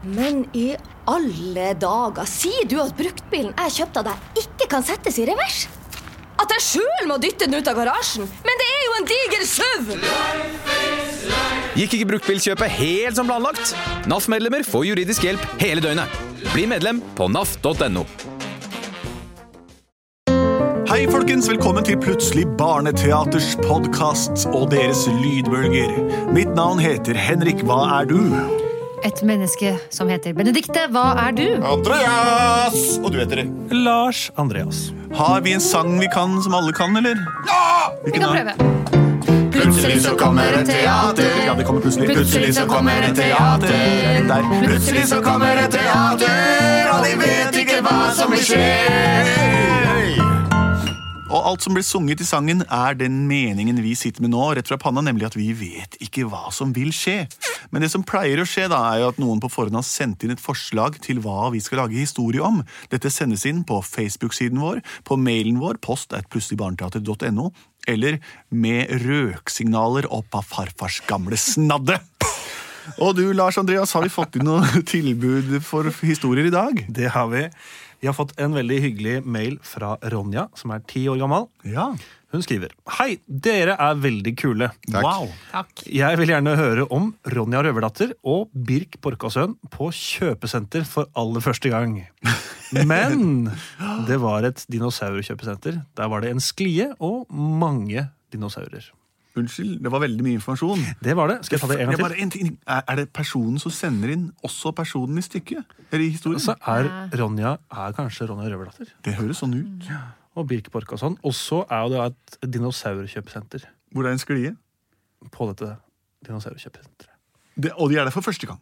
Men i alle dager, sier du at bruktbilen jeg kjøpte av deg, ikke kan settes i revers? At jeg sjøl må dytte den ut av garasjen? Men det er jo en diger SUV! Gikk ikke bruktbilkjøpet helt som planlagt? NAF-medlemmer får juridisk hjelp hele døgnet. Bli medlem på naf.no. Hei, folkens. Velkommen til Plutselig barneteaters podkast og deres lydbølger. Mitt navn heter Henrik. Hva er du? Et menneske som heter Benedikte, hva er du? Andreas! Og du heter Lars Andreas. Har vi en sang vi kan som alle kan, eller? Vi da? kan prøve. Plutselig så kommer et teater. Ja, det kommer plutselig. Plutselig så kommer et teater. Der. Plutselig så kommer et teater, og de vet ikke hva som vil skje. Og alt som blir sunget i sangen, er den meningen vi sitter med nå, rett fra panna, nemlig at vi vet ikke hva som vil skje. Men det som pleier å skje, da, er jo at noen på forhånd har sendt inn et forslag til hva vi skal lage historie om. Dette sendes inn på Facebook-siden vår, på mailen vår, post at plutseligbarneteater.no, eller med røksignaler opp av farfars gamle snadde. Og du, Lars Andreas, har vi fått inn noen tilbud for historier i dag? Det har vi. Vi har fått en veldig hyggelig mail fra Ronja, som er ti år gammel. Ja. Hun skriver Hei, dere er veldig kule. Wow. Jeg vil gjerne høre om Ronja Røverdatter og Birk Borkasøen på kjøpesenter for aller første gang. Men det var et dinosaurkjøpesenter. Der var det en sklie og mange dinosaurer. Unnskyld, det var veldig mye informasjon. Det var det. Skal jeg ta det en Det er gang til? bare en ting. Er, er det personen som sender inn også personen i stykket? Eller i historien? Så er Ronja er kanskje Ronja Røverdatter. det høres sånn ut. Og Birk Borkasøen. Og så er jo det et dinosaurkjøpesenter Hvor det er en sklie. på dette dinosaurkjøpesenteret. Det, og de er der for første gang.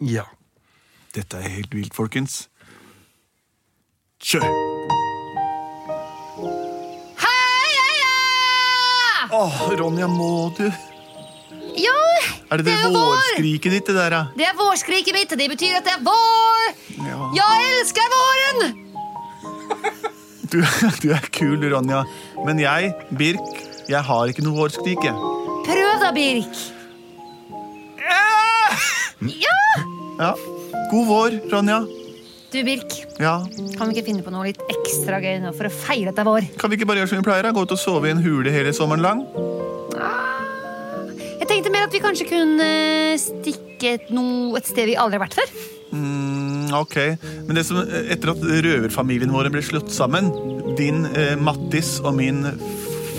Ja. Dette er helt vilt, folkens. Kjør! Heia! Åh, Ronja, må du Ja, Er det det, Det er jo vår! vårskriket ditt, det der, da? det er vårskriket mitt. Det betyr at det er vår! Ja. Jeg elsker våren! Du, du er kul, Ronja. Men jeg, Birk, jeg har ikke noe vårskrik, jeg. Prøv da, Birk. Ja! Ja. God vår, Ronja. Du, Birk, Ja. kan vi ikke finne på noe litt ekstra gøy nå for å feire at det er vår? Kan vi ikke bare gjøre som vi pleier? da? Gå ut og sove i en hule hele sommeren lang? Jeg tenkte mer at vi kanskje kunne stikke et, noe, et sted vi aldri har vært før. Mm, ok, men det som, eh, etter at røverfamilien vår ble slått sammen, din eh, Mattis og min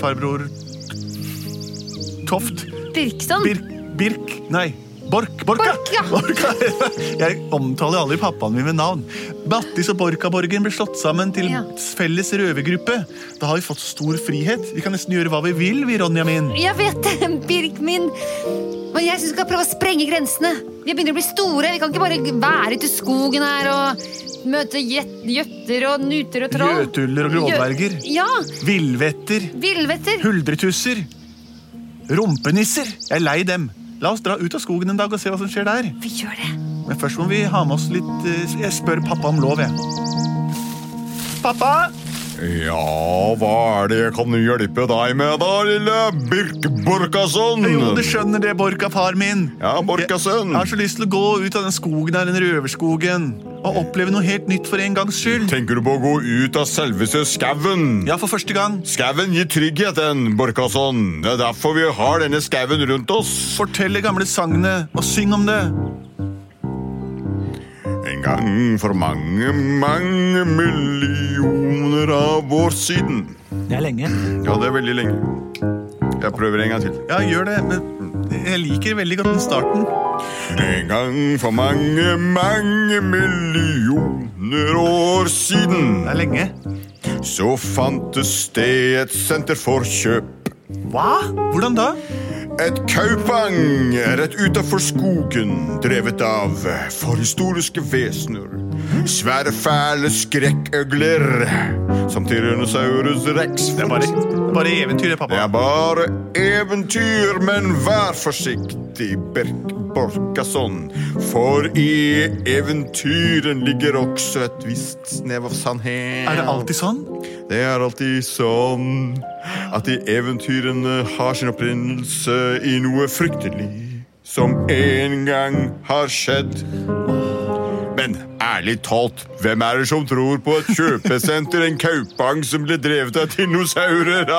farbror Toft Birkson. Birk, Birk nei, Bork, Borka! Bork, ja. Borka. Jeg omtaler aldri pappaen min med navn. Mattis og Borkaborgen ble slått sammen til Ja. felles røvergruppe. Da har vi fått stor frihet. Vi kan nesten gjøre hva vi vil, vi, Ronja min. Jeg vet det, Birk min. Men jeg syns vi skal prøve å sprenge grensene. Vi begynner å bli store. Vi kan ikke bare være ute i skogen her og møte gjet- gjøtter og nuter og troll. Gjøtuller og grådverger. Gjø- Ja. Villvetter. Villvetter. Huldretusser. Rumpenisser. Jeg er lei dem. La oss dra ut av skogen en dag og se hva som skjer der. Vi gjør det. Men først må vi ha med oss litt eh, Jeg spør pappa om lov, jeg. Pappa! Ja, hva er det jeg kan hjelpe deg med da, lille Birk Borkasson? Jo, du skjønner det, Borka, far min. Mm. Ja, Borkasønn. Jeg har så lyst til å gå ut av den skogen her, den røverskogen, og oppleve noe helt nytt for en gangs skyld. Tenker du på å gå ut av selveste skauen? Ja, for første gang. Skauen gir trygghet, den, Borkasson. Det er derfor vi har denne skauen rundt oss. Fortell de gamle sangene, og syng om det. En gang for mange, mange millioner av år siden. Det er lenge. Ja, det er veldig lenge. Jeg prøver en gang til. Ja, gjør det. Men jeg liker veldig godt den starten. En gang for mange, mange millioner år siden Det er lenge. så fantes det et senter for kjøp. Hva? Hvordan da? Et kaupang rett utafor skogen, drevet av forhistoriske vesener. Svære, fæle skrekkøgler som Tyrannosaurus rex. Det er bare, bare eventyr, det, Det pappa. er bare eventyr, men vær forsiktig, Berk Borkasson. For i eventyren ligger også et visst snev av sannhet. Er det alltid sånn? Det er alltid sånn at de eventyrene har sin opprinnelse i noe fryktelig som en gang har skjedd. Men ærlig talt, hvem er det som tror på et kjøpesenter, en kaupang som ble drevet av dinosaurer?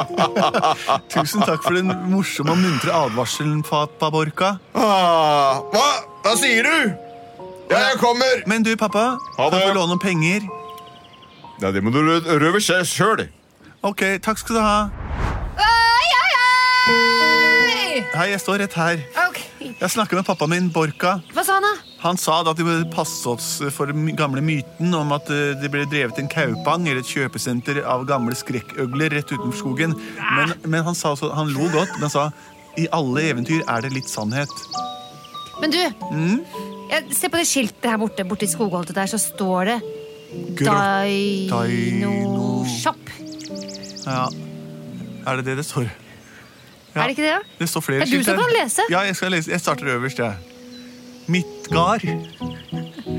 Tusen takk for den morsomme og muntre advarselen, pappa Borka. Ah, hva? Hva sier du? Ja, jeg kommer! Men du, pappa, Ha kan det. jeg få låne noen penger? Ja, Det må du rø- røve seg sjøl. Ok, takk skal du ha. Oi, oi, oi! Hei, jeg står rett her. Ok, Jeg snakker med pappaen min, Borka. Hva sa han, da? Han sa da at de burde passe oss for den gamle myten om at eh, det ble drevet en kaupang eller et kjøpesenter av gamle skrekkøgler rett utenfor skogen. Men, men han sa også, han lo godt, men han sa i alle eventyr er det litt sannhet. Men du, Mm? jeg, se på det skiltet her borte, borte i skogholtet der, så står det Gro- Dino- Dino-shop. Ja. Er det det det står? Ja. Er det ikke det, da? Det står flere Er det du skilt som her. kan lese? Ja, jeg skal lese. Jeg starter øverst, jeg. Midtgard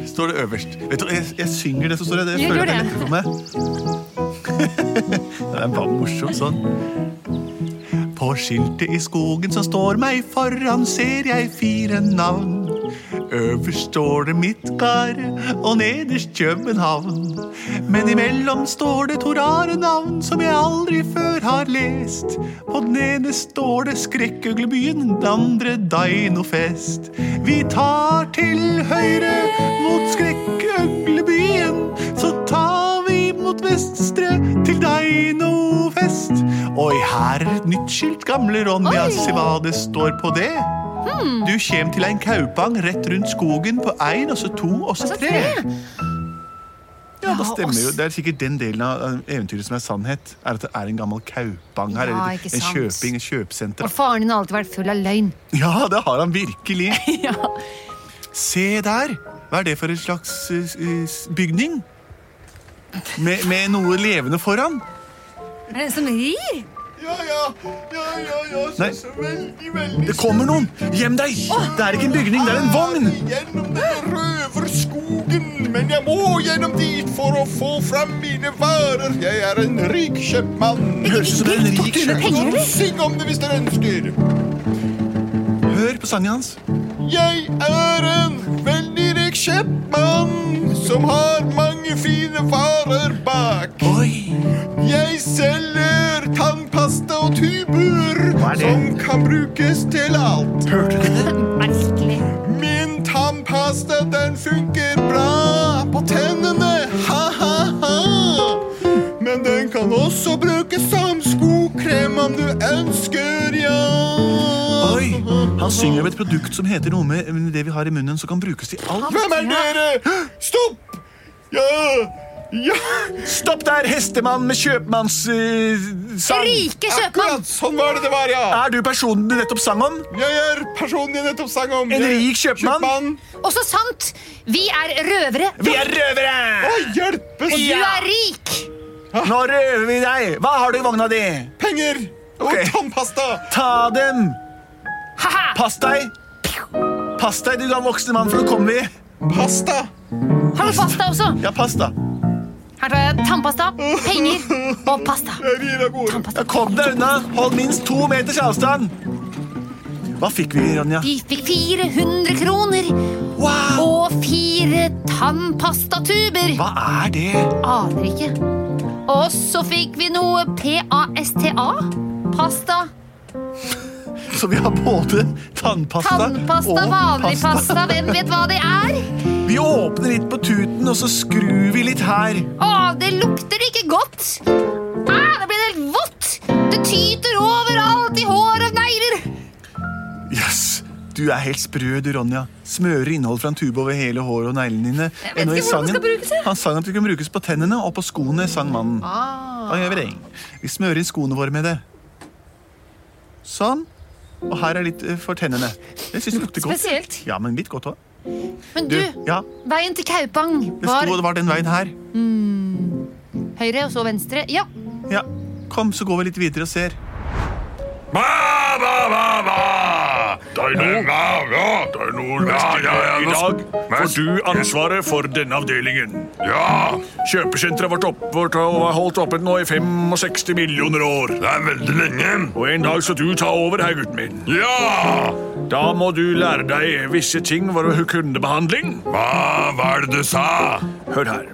står det øverst. Vet du, jeg, jeg synger det som står der. Det Gjør føler det. jeg lett for meg. det er bare morsomt sånn. På skiltet i skogen som står meg foran, ser jeg fire navn. Øverst står det Midtgard, og nederst København. Men imellom står det to rare navn som jeg aldri før har lest. På den ene står det Skrekkøglebyen, den andre Dainofest. Vi tar til høyre mot Skrekkøglebyen, så tar vi mot Vestre til Dainofest. Oi, her er et nytt skilt, gamle Ronja, Oi. se hva det står på det. Du kjem til ein kaupang rett rundt skogen på én, og så to, og så tre. Ja, da stemmer jo. Det er sikkert den delen av eh, eventyret som er sannhet. Er At det er en gammel kaupang her. Ja, eller ikke en sant. kjøping, en Og kjøpesenter. faren din har alltid vært full av løgn. Ja, det har han virkelig. Ja. Se der! Hva er det for en slags eh, s- eh, s- bygning? Med, med noe levende foran? Er det en sånn som rir? Ja, ja, ja, ja, ja, så, Nei. så veldig, veldig Det kommer noen! Gjem deg! Det er ikke en bygning, det er en vogn! Gjennom den røverskogen, men jeg må gjennom dit for å få fram mine varer. Jeg er en rik kjøpmann. Høres ut som en rik kjøpmann. penger, eller? Syng om det hvis dere ønsker. Hør på sangen hans. Jeg er en veldig rik kjøpmann som har mange fine varer bak. Oi! Jeg selger tannpasta og tuber Hva er det? som kan brukes til alt. Hørte du det? Merkelig. Min tannpasta, den funker bra på tennene, ha-ha-ha. Men den kan også brukes som skokrem om du ønsker, ja. Oi! Han synger om et produkt som heter noe med med det vi har i munnen, som kan brukes til alt. Hvem er dere? Stopp! Ja, ja. Stopp der, hestemann med kjøpmannssang! Rike kjøpmann! Akkurat sånn var det det var, ja. er du personen du nettopp sang om? Jeg er personen jeg nettopp sang om. En Jeg- rik kjøpmann? Og så sant! Vi er røvere, Vi er Å, røvere! hjelpes! og du Ja. er rik! Nå røver vi deg! Hva har du i vogna di? Penger og Ok. tannpasta. Ta dem! Ha-ha! Pass deg! Pass deg, du er en voksen mann, for nå kommer vi. Pasta. Har du pasta også? Ja, pass da. Her tar jeg tannpasta, penger og pasta. Jeg rir av gårde. Ja, kom deg unna! Hold minst to meters avstand! Hva fikk vi, Ronja? Vi fikk 400 kroner Wow! og fire tannpastatuber. Hva er det? Aner ikke. Og så fikk vi noe PASTA. Pasta. Så vi har både tannpasta, Tannpasta, og vanlig pasta. Hvem vet hva det er? Vi åpner litt på tuten, og så skrur vi litt her. Å, det lukter ikke godt! Ah, det blir helt vått! Det tyter overalt i hår og negler! Yes. Du er helt sprø, du, Ronja. Smører innhold fra en tube over hele håret og neglene dine. vet Ennå i ikke hvordan det skal sangen- brukes, jeg. Han sang at det kunne brukes på tennene og på skoene, sang mannen. Ah. Da gjør vi det. Vi smører inn skoene våre med det. Sånn. Og her er litt eh, for tennene. Jeg syns det lukter godt. Spesielt. Ja, men litt godt òg. Men Du, du, ja. veien til Kaupang Det var sto det var den veien her. høyre og så venstre. Ja, Ja. Kom, så går vi litt videre og ser. Ba, ba, ba, ba! ja, ja, nå- I dag får du ansvaret for denne avdelingen. Ja, Kjøpesenteret vårt, opp, vårt har holdt oppe nå i 65 millioner år. det er veldig lenge. Og en dag skal du ta over her, gutten min. Ja! Da må du lære deg visse ting for kundebehandling. Hva var det du sa? Hør her.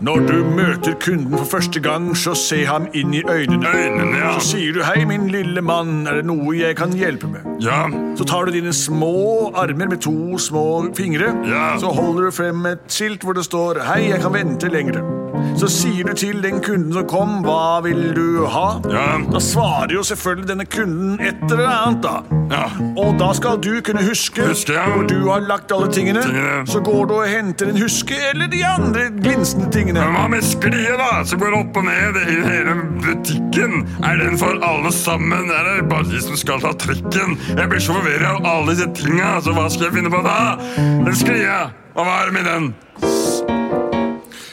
Når du møter kunden for første gang, så se ham inn i øynene. Øynene, ja. Så sier du 'Hei, min lille mann, er det noe jeg kan hjelpe med?' Ja, Så tar du dine små armer med to små fingre. Ja. Så holder du frem et skilt hvor det står 'Hei, jeg kan vente lengre'. Så sier du til den kunden som kom, 'Hva vil du ha?' Ja. Da svarer jo selvfølgelig denne kunden et eller annet, da. Ja. Og da skal du kunne huske, Huske, ja. hvor du har lagt alle tingene. Tingene. Så går du og henter en huske eller de andre glinsende tingene. men hva med skliet da, som går opp og ned i hele butikken? Er den for alle sammen, eller er det bare de som skal ta trikken? Jeg blir så forvirret av alle disse tingene, så hva skal jeg finne på da? Den sklia, og hva er det med den?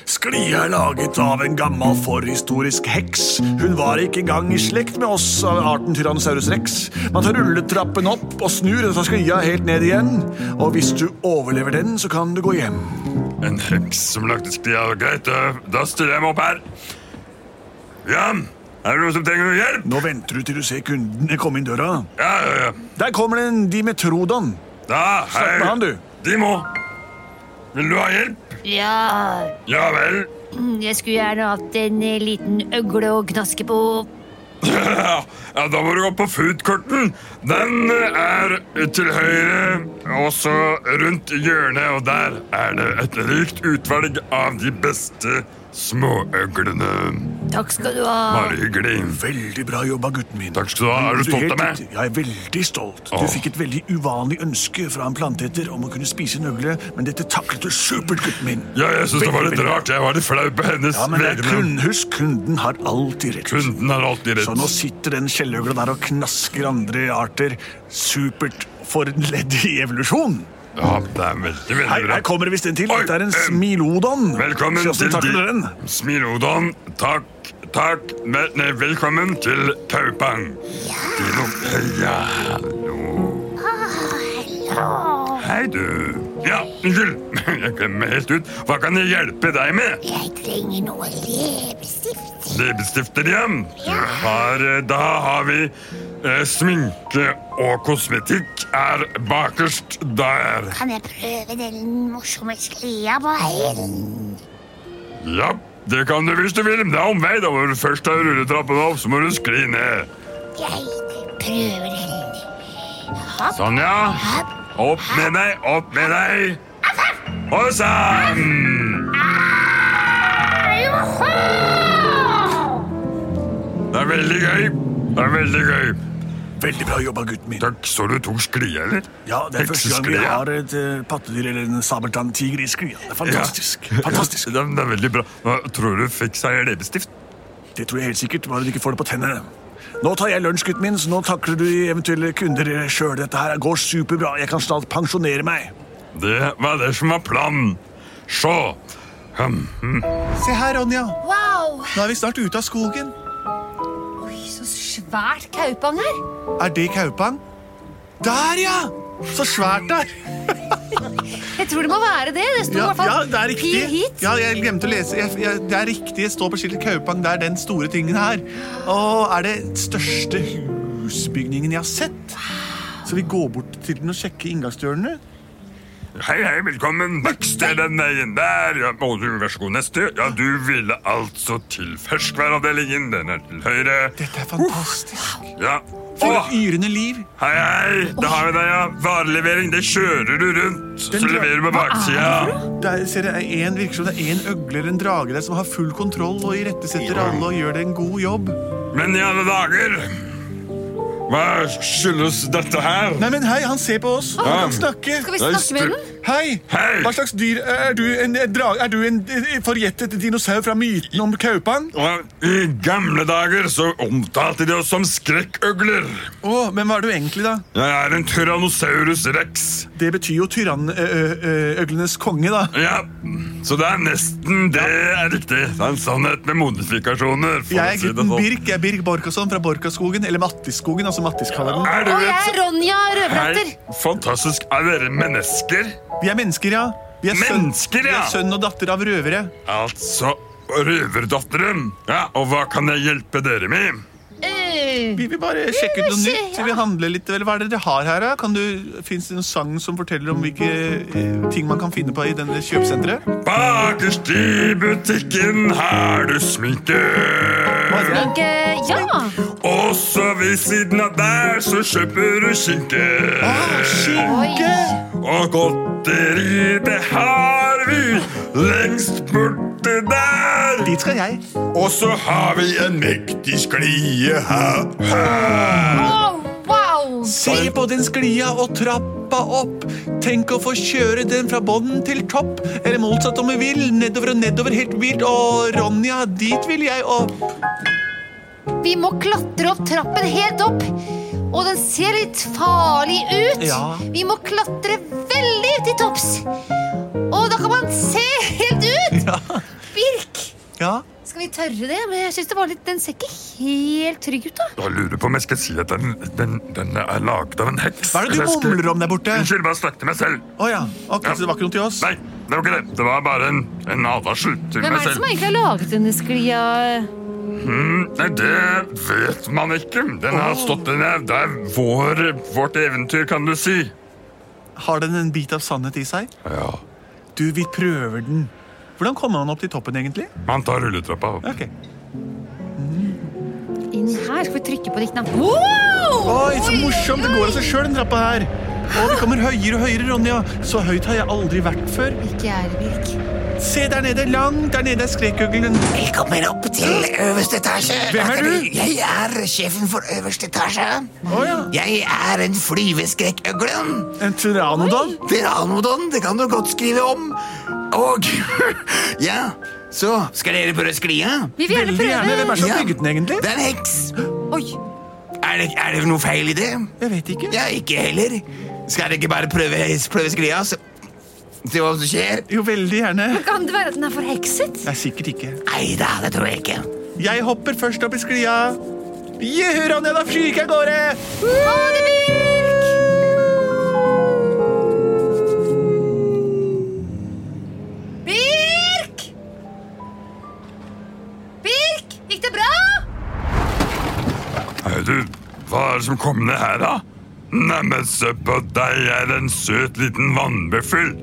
Sklia er laget av en gammel forhistorisk heks. Hun var ikke engang i slekt med oss av arten Tyrannosaurus rex. Man tar rulletrappen opp og snur og tar sklia helt ned igjen. Og hvis du overlever den, så kan du gå hjem. En heks som lagde sklia, greit, da, da stiller jeg meg opp her. Ja, er det noen som trenger noe hjelp? Nå venter du til du ser kundene komme inn døra. Ja, ja, ja. Der kommer det en dimetrodon. Da, hei. Snakk med han, du. De må. Vil du ha hjelp? Ja, Ja vel. jeg skulle gjerne hatt en eh, liten øgle å gnaske på. Ja, ja, da må du gå på foodkorten. Den eh, er til høyre, og så rundt hjørnet, og der er det et rikt utvalg av de beste småøglene. Takk skal du ha. Bare hyggelig. Veldig bra jobba, gutten min. Takk skal du ha. Er du stolt av helt meg? riktig. Jeg er veldig stolt. Åh. Du fikk et veldig uvanlig ønske fra en planteeter om å kunne spise en øgle, men dette taklet du supert, gutten min. Ja, jeg synes det var litt Veldig, veldig rart. Jeg var litt flau på hennes Ja, men det er vegne. kun, husk, kunden har alltid rett. Kunden har alltid Så nå rett. sitter den skjelløgla der og knasker andre arter. Supert for en ledd i evolusjon. Ja, det er veldig, Her, veldig her bra. kommer det visst en til. Oi, Dette er en eh, smilodon. Velkommen Se til hvordan takler den. de- Smilodon. Takk, takk. Vel- Nei, velkommen til Taupang. Dino. Ja, hallo. Hei, du. Ja, unnskyld. Jeg glemmer helt ut. Hva kan jeg hjelpe deg med? Jeg trenger noe leppestift. Leppestifter igjen. Du har, eh, da har vi eh, sminke og kosmetikk er bakerst der. Kan jeg prøve den morsomme sklia på veien? Ja, det kan du hvis du vil. men Det er omvei. Da må du først ta rulletrappen opp, så må du skli ned. Jeg prøver den. Hopp, Sånn, ja. hopp. Opp med deg, opp med deg. Og sann! Det er veldig gøy. Det er veldig gøy. Veldig bra jobba, gutten min. Takk, så du tok sklia, eller? Ja, Det er første gang vi Heksesklia. har et eh, pattedyr eller en sabeltanntiger i sklia. Det er fantastisk. Ja. Fantastisk. Ja, det er veldig bra. Nå, tror du fikk seg leppestift? Det tror jeg helt sikkert, bare du ikke får det på tennene. Nå tar jeg lunsj, gutten min, så nå takler du de eventuelle kunder eh, sjøl. Dette her går superbra. Jeg kan snart pensjonere meg. Det var det som var planen. Se. Hm, hm. Se her, Ronja. Wow! Nå er vi snart ute av skogen. Oi, så svært kaupang her. Er det Kaupang? Der, ja! Så svært der. Jeg tror det må være det. Det sto i Ja, hvert fall ja, det er riktig. pil hit. Ja, jeg glemte å lese. Jeg, jeg, det er riktig. Det står på skiltet Kaupang. Det er den store tingen her. Og er det største husbygningen jeg har sett. Så vi går bort til den og sjekker inngangsdørene. Hei, hei, velkommen. Neste den veien der. Ja, og du, vær så god, neste. Ja, du ville altså til ferskværavdelingen. Den er til høyre. Dette er fantastisk. Ja. For Åh, et yrende liv. hei, hei. Da har vi deg, ja. Varelevering, det kjører du rundt. Så Den dra- leverer du på baksida. Det er, ser jeg, en, virker som det er en øgle eller en drage der som har full kontroll og irettesetter alle og gjør det en god jobb. Men i alle dager Hva skyldes dette her? Nei, men hei, han ser på oss. Han kan snakke. Skal vi snakke med den? Hei! Hei! Hva slags dyr eh, Er du en, en drage? Er du en, en forjettet dinosaur fra myten om Kaupang? Og I gamle dager så omtalte de oss som skrekkøgler. Å, men hva er du egentlig, da? Jeg er en tyrannosaurus rex. Det betyr jo eh, tyrannøglenes konge, da. Ja, så det er nesten det er riktig. Det er en sannhet med modifikasjoner. for Jeg å er si det gutten sånn. Birk jeg er Birk Borkasson fra Borkaskogen, eller Mattisskogen, altså som Mattis kaller den. Er Og dere jeg er Ronja Røverdatter. Hei, fantastisk. Er dere mennesker? Vi er mennesker, ja. Vi er sønn, Mennesker, vi ja. er sønn og datter av røvere. Altså røverdatteren. Ja, og hva kan jeg hjelpe dere med? Eh, Vi vil bare sjekke ut noe se, nytt. ja. Vi vil handle litt. Eller hva er det dere har her, da? Kan du, Fins det en sang som forteller om hvilke eh, ting man kan finne på i denne kjøpesenteret? Bakerst i butikken har du sminke. Sminke Eh, Ja. Og så ved siden av der så kjøper du skinke. Oi. Og godteri, det har vi lengst borte der. Dit skal jeg. Og så har vi en mektig sklie her. her. Wow, wow. Se på den sklia og trappa opp. Tenk å få kjøre den fra bånn til topp. Eller motsatt om vi vil. Nedover og nedover helt vilt. Og Ronja, dit vil jeg opp. Vi må klatre opp trappen helt opp. Og den ser litt farlig ut. Ja. Vi må klatre veldig ut i topps. Og da kan man se helt ut! Birk! Ja, Skal vi tørre det? Men jeg synes det var litt, Den ser ikke helt trygg ut, da. Jeg lurer på om jeg skal si at den, den, den er laget av en heks. Hva er det du Jeg skal- mumler om der borte? Unnskyld, bare snakk til meg selv. Å ja. Ok, så det var ikke noe til oss? Nei, det var ikke det. Det var bare en, en advarsel til Hvem er meg det selv. som egentlig har laget denne sklia? Nei, det vet man ikke. Den har stått den er, Det er vår, vårt eventyr, kan du si. Har den en bit av sannhet i seg? Ja. Du, vi prøver den. Hvordan kommer man opp til toppen, egentlig? Man tar rulletrappa. Ok. Inn her skal vi trykke på de knappene. Wow! Oi, så morsomt! Det går av seg sjøl, den trappa her. Og vi kommer høyere og høyere, Ronja. Så høyt har jeg aldri vært før. Ikke jeg, Birk. Se der nede, langt der nede er skrekuglen. Velkommen opp til øverste etasje. Altså, Hvem er du? Jeg er sjefen for øverste etasje. Å ja. Jeg er en flyveskrekkøglen. En tyrannodon? Pteranodon, det kan du godt skrive om. Og ja, så skal dere prøve sklia? Vi vil gjerne Veldig gjerne. Hvem er prøve. det som Ja. har bygget den, egentlig? Det er en heks. Oi. Er det, er det noe feil i det? Jeg vet ikke. Ja, ikke heller. Skal dere ikke bare prøve, prøve sklia? så- Se hva som skjer? Jo, veldig gjerne. Kan det være at den er forhekset? Nei, sikkert ikke. Nei da, det tror jeg ikke. Jeg hopper først opp i sklia. Juhu, Ronja, da flyr jeg av gårde! Ha det, Birk! Birk! Birk, gikk det bra? Hei, du. Hva er det som kom ned her, da? Neimen, se på deg, jeg er en søt liten vannbøffel.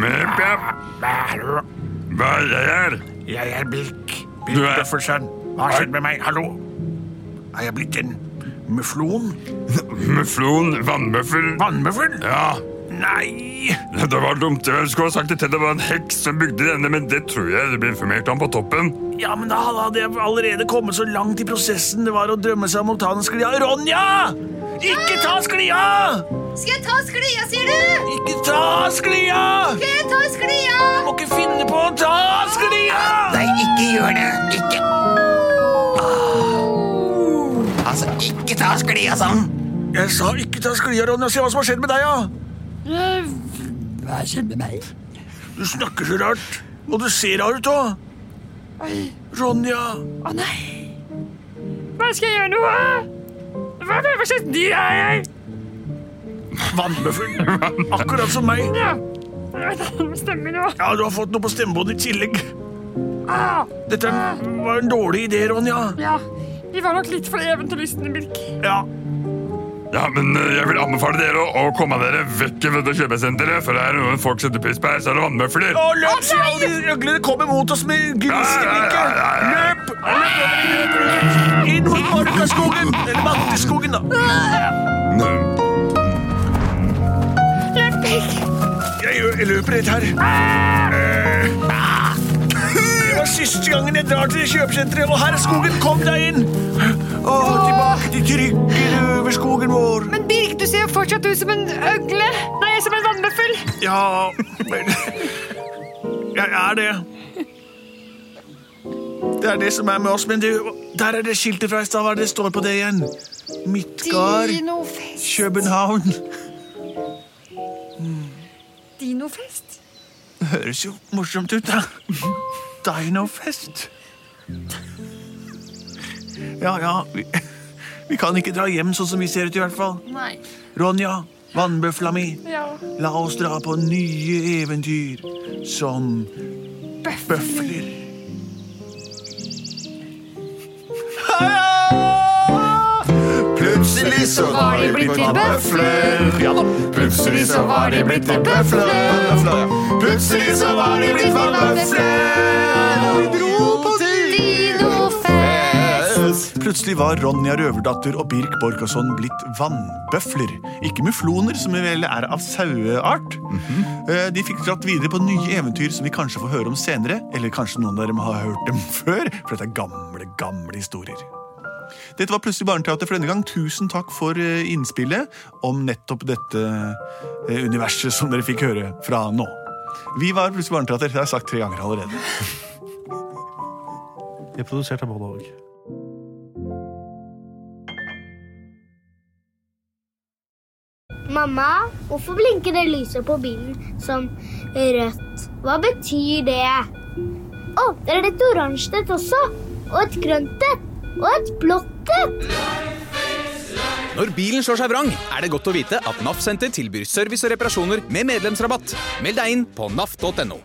Mæp, ja. Hva er jeg her? Jeg er Birk. Du Birk er- Bøffelsen. Hva har skjedd med meg? Hallo? Er jeg blitt en muflon? Muflon vannbøffel? Vannmuffel? Ja. Nei! Det var dumt. Jeg skulle ha sagt det til det var en heks som bygde denne, men det tror jeg det ble informert om på toppen. Ja, men da hadde jeg allerede kommet så langt i prosessen det var å drømme seg om å ta den sklia. Ronja! Ikke ta sklia! Skal jeg ta sklia, sier du? Ikke ta sklia! Skal jeg ta sklia? Du må ikke finne på å ta sklia! Nei, ikke gjør det. Ikke. Ah. Altså, ikke ta sklia sånn. Jeg sa ikke ta sklia, Ronja. Se hva som har skjedd med deg, ja. Hva skjedde med meg? Du snakker så rart. Og du ser rar ut òg. Ronja. Hva skal jeg gjøre nå? Hva, hva, hva slags dyr er jeg? Vannbøffel. Akkurat som meg. Ja. Det stemmer nå. Ja, Du har fått noe på stemmebåndet i tillegg. Ah, Dette var en dårlig idé, Ronja. ja. Vi var nok litt for eventyrlystne, Birk. Ja, Ja, men eh, jeg vil anbefale dere å, å komme dere vekk fra dette kjøpesenteret, for det er noe folk setter pris på her, så er det vannmøfler. Å, løp! se, alle de Øglene kommer mot oss med gnisteblikker. Nei, nei, nei, nei. Løp! Løp, løp, løp, løp! Inn mot Markaskogen! Eller Matteskogen, da. Jeg, gjør- jeg løper rett her. Eh. Det var siste gangen jeg drar til kjøpesenteret, og her er skogen. Kom deg inn! Å, tilbake til trygge røverskogen vår. Men Birk, du ser jo fortsatt ut som en øgle. Nei, som en vannbøffel. Ja vel Jeg er det. Det er det som er med oss, men du, der er det skiltet fra i stad. Hva er det det står på det igjen? Midtgard, Dinofest. København. Dinofest? Høres jo morsomt ut, da. Dinofest. Ja, ja, vi, vi kan ikke dra hjem sånn som vi ser ut, i hvert fall. Nei. Ronja, vannbøfla mi, Ja. la oss dra på nye eventyr som bøfler. Plutselig så var de blitt til bøfler. Ja da. Plutselig så var de blitt til bøfler. Plutselig så var de blitt til bøfler. Og vi dro på dinofest. Plutselig var Ronja Røverdatter og Birk Borkasson blitt vannbøfler. Ikke mufloner, som vel er av saueart. Eh, De fikk dratt videre på nye eventyr som vi kanskje får høre om senere. Eller kanskje noen av dere har hørt dem før, for dette er gamle, gamle historier. Dette var Plutselig barneteater for denne gang. Tusen takk for eh, innspillet om nettopp dette eh, universet som dere fikk høre fra nå. Vi var Plutselig barneteater. Det har jeg sagt tre ganger allerede. Vi er produsert av både og. Mamma, hvorfor blinker det lyset på bilen som rødt? Hva betyr det? Å, det er et oransje et også. Og et grønt et. Og et blått et. Når bilen slår seg vrang, er det godt å vite at NAF Senter tilbyr service og reparasjoner med medlemsrabatt. Meld deg inn på naf.no.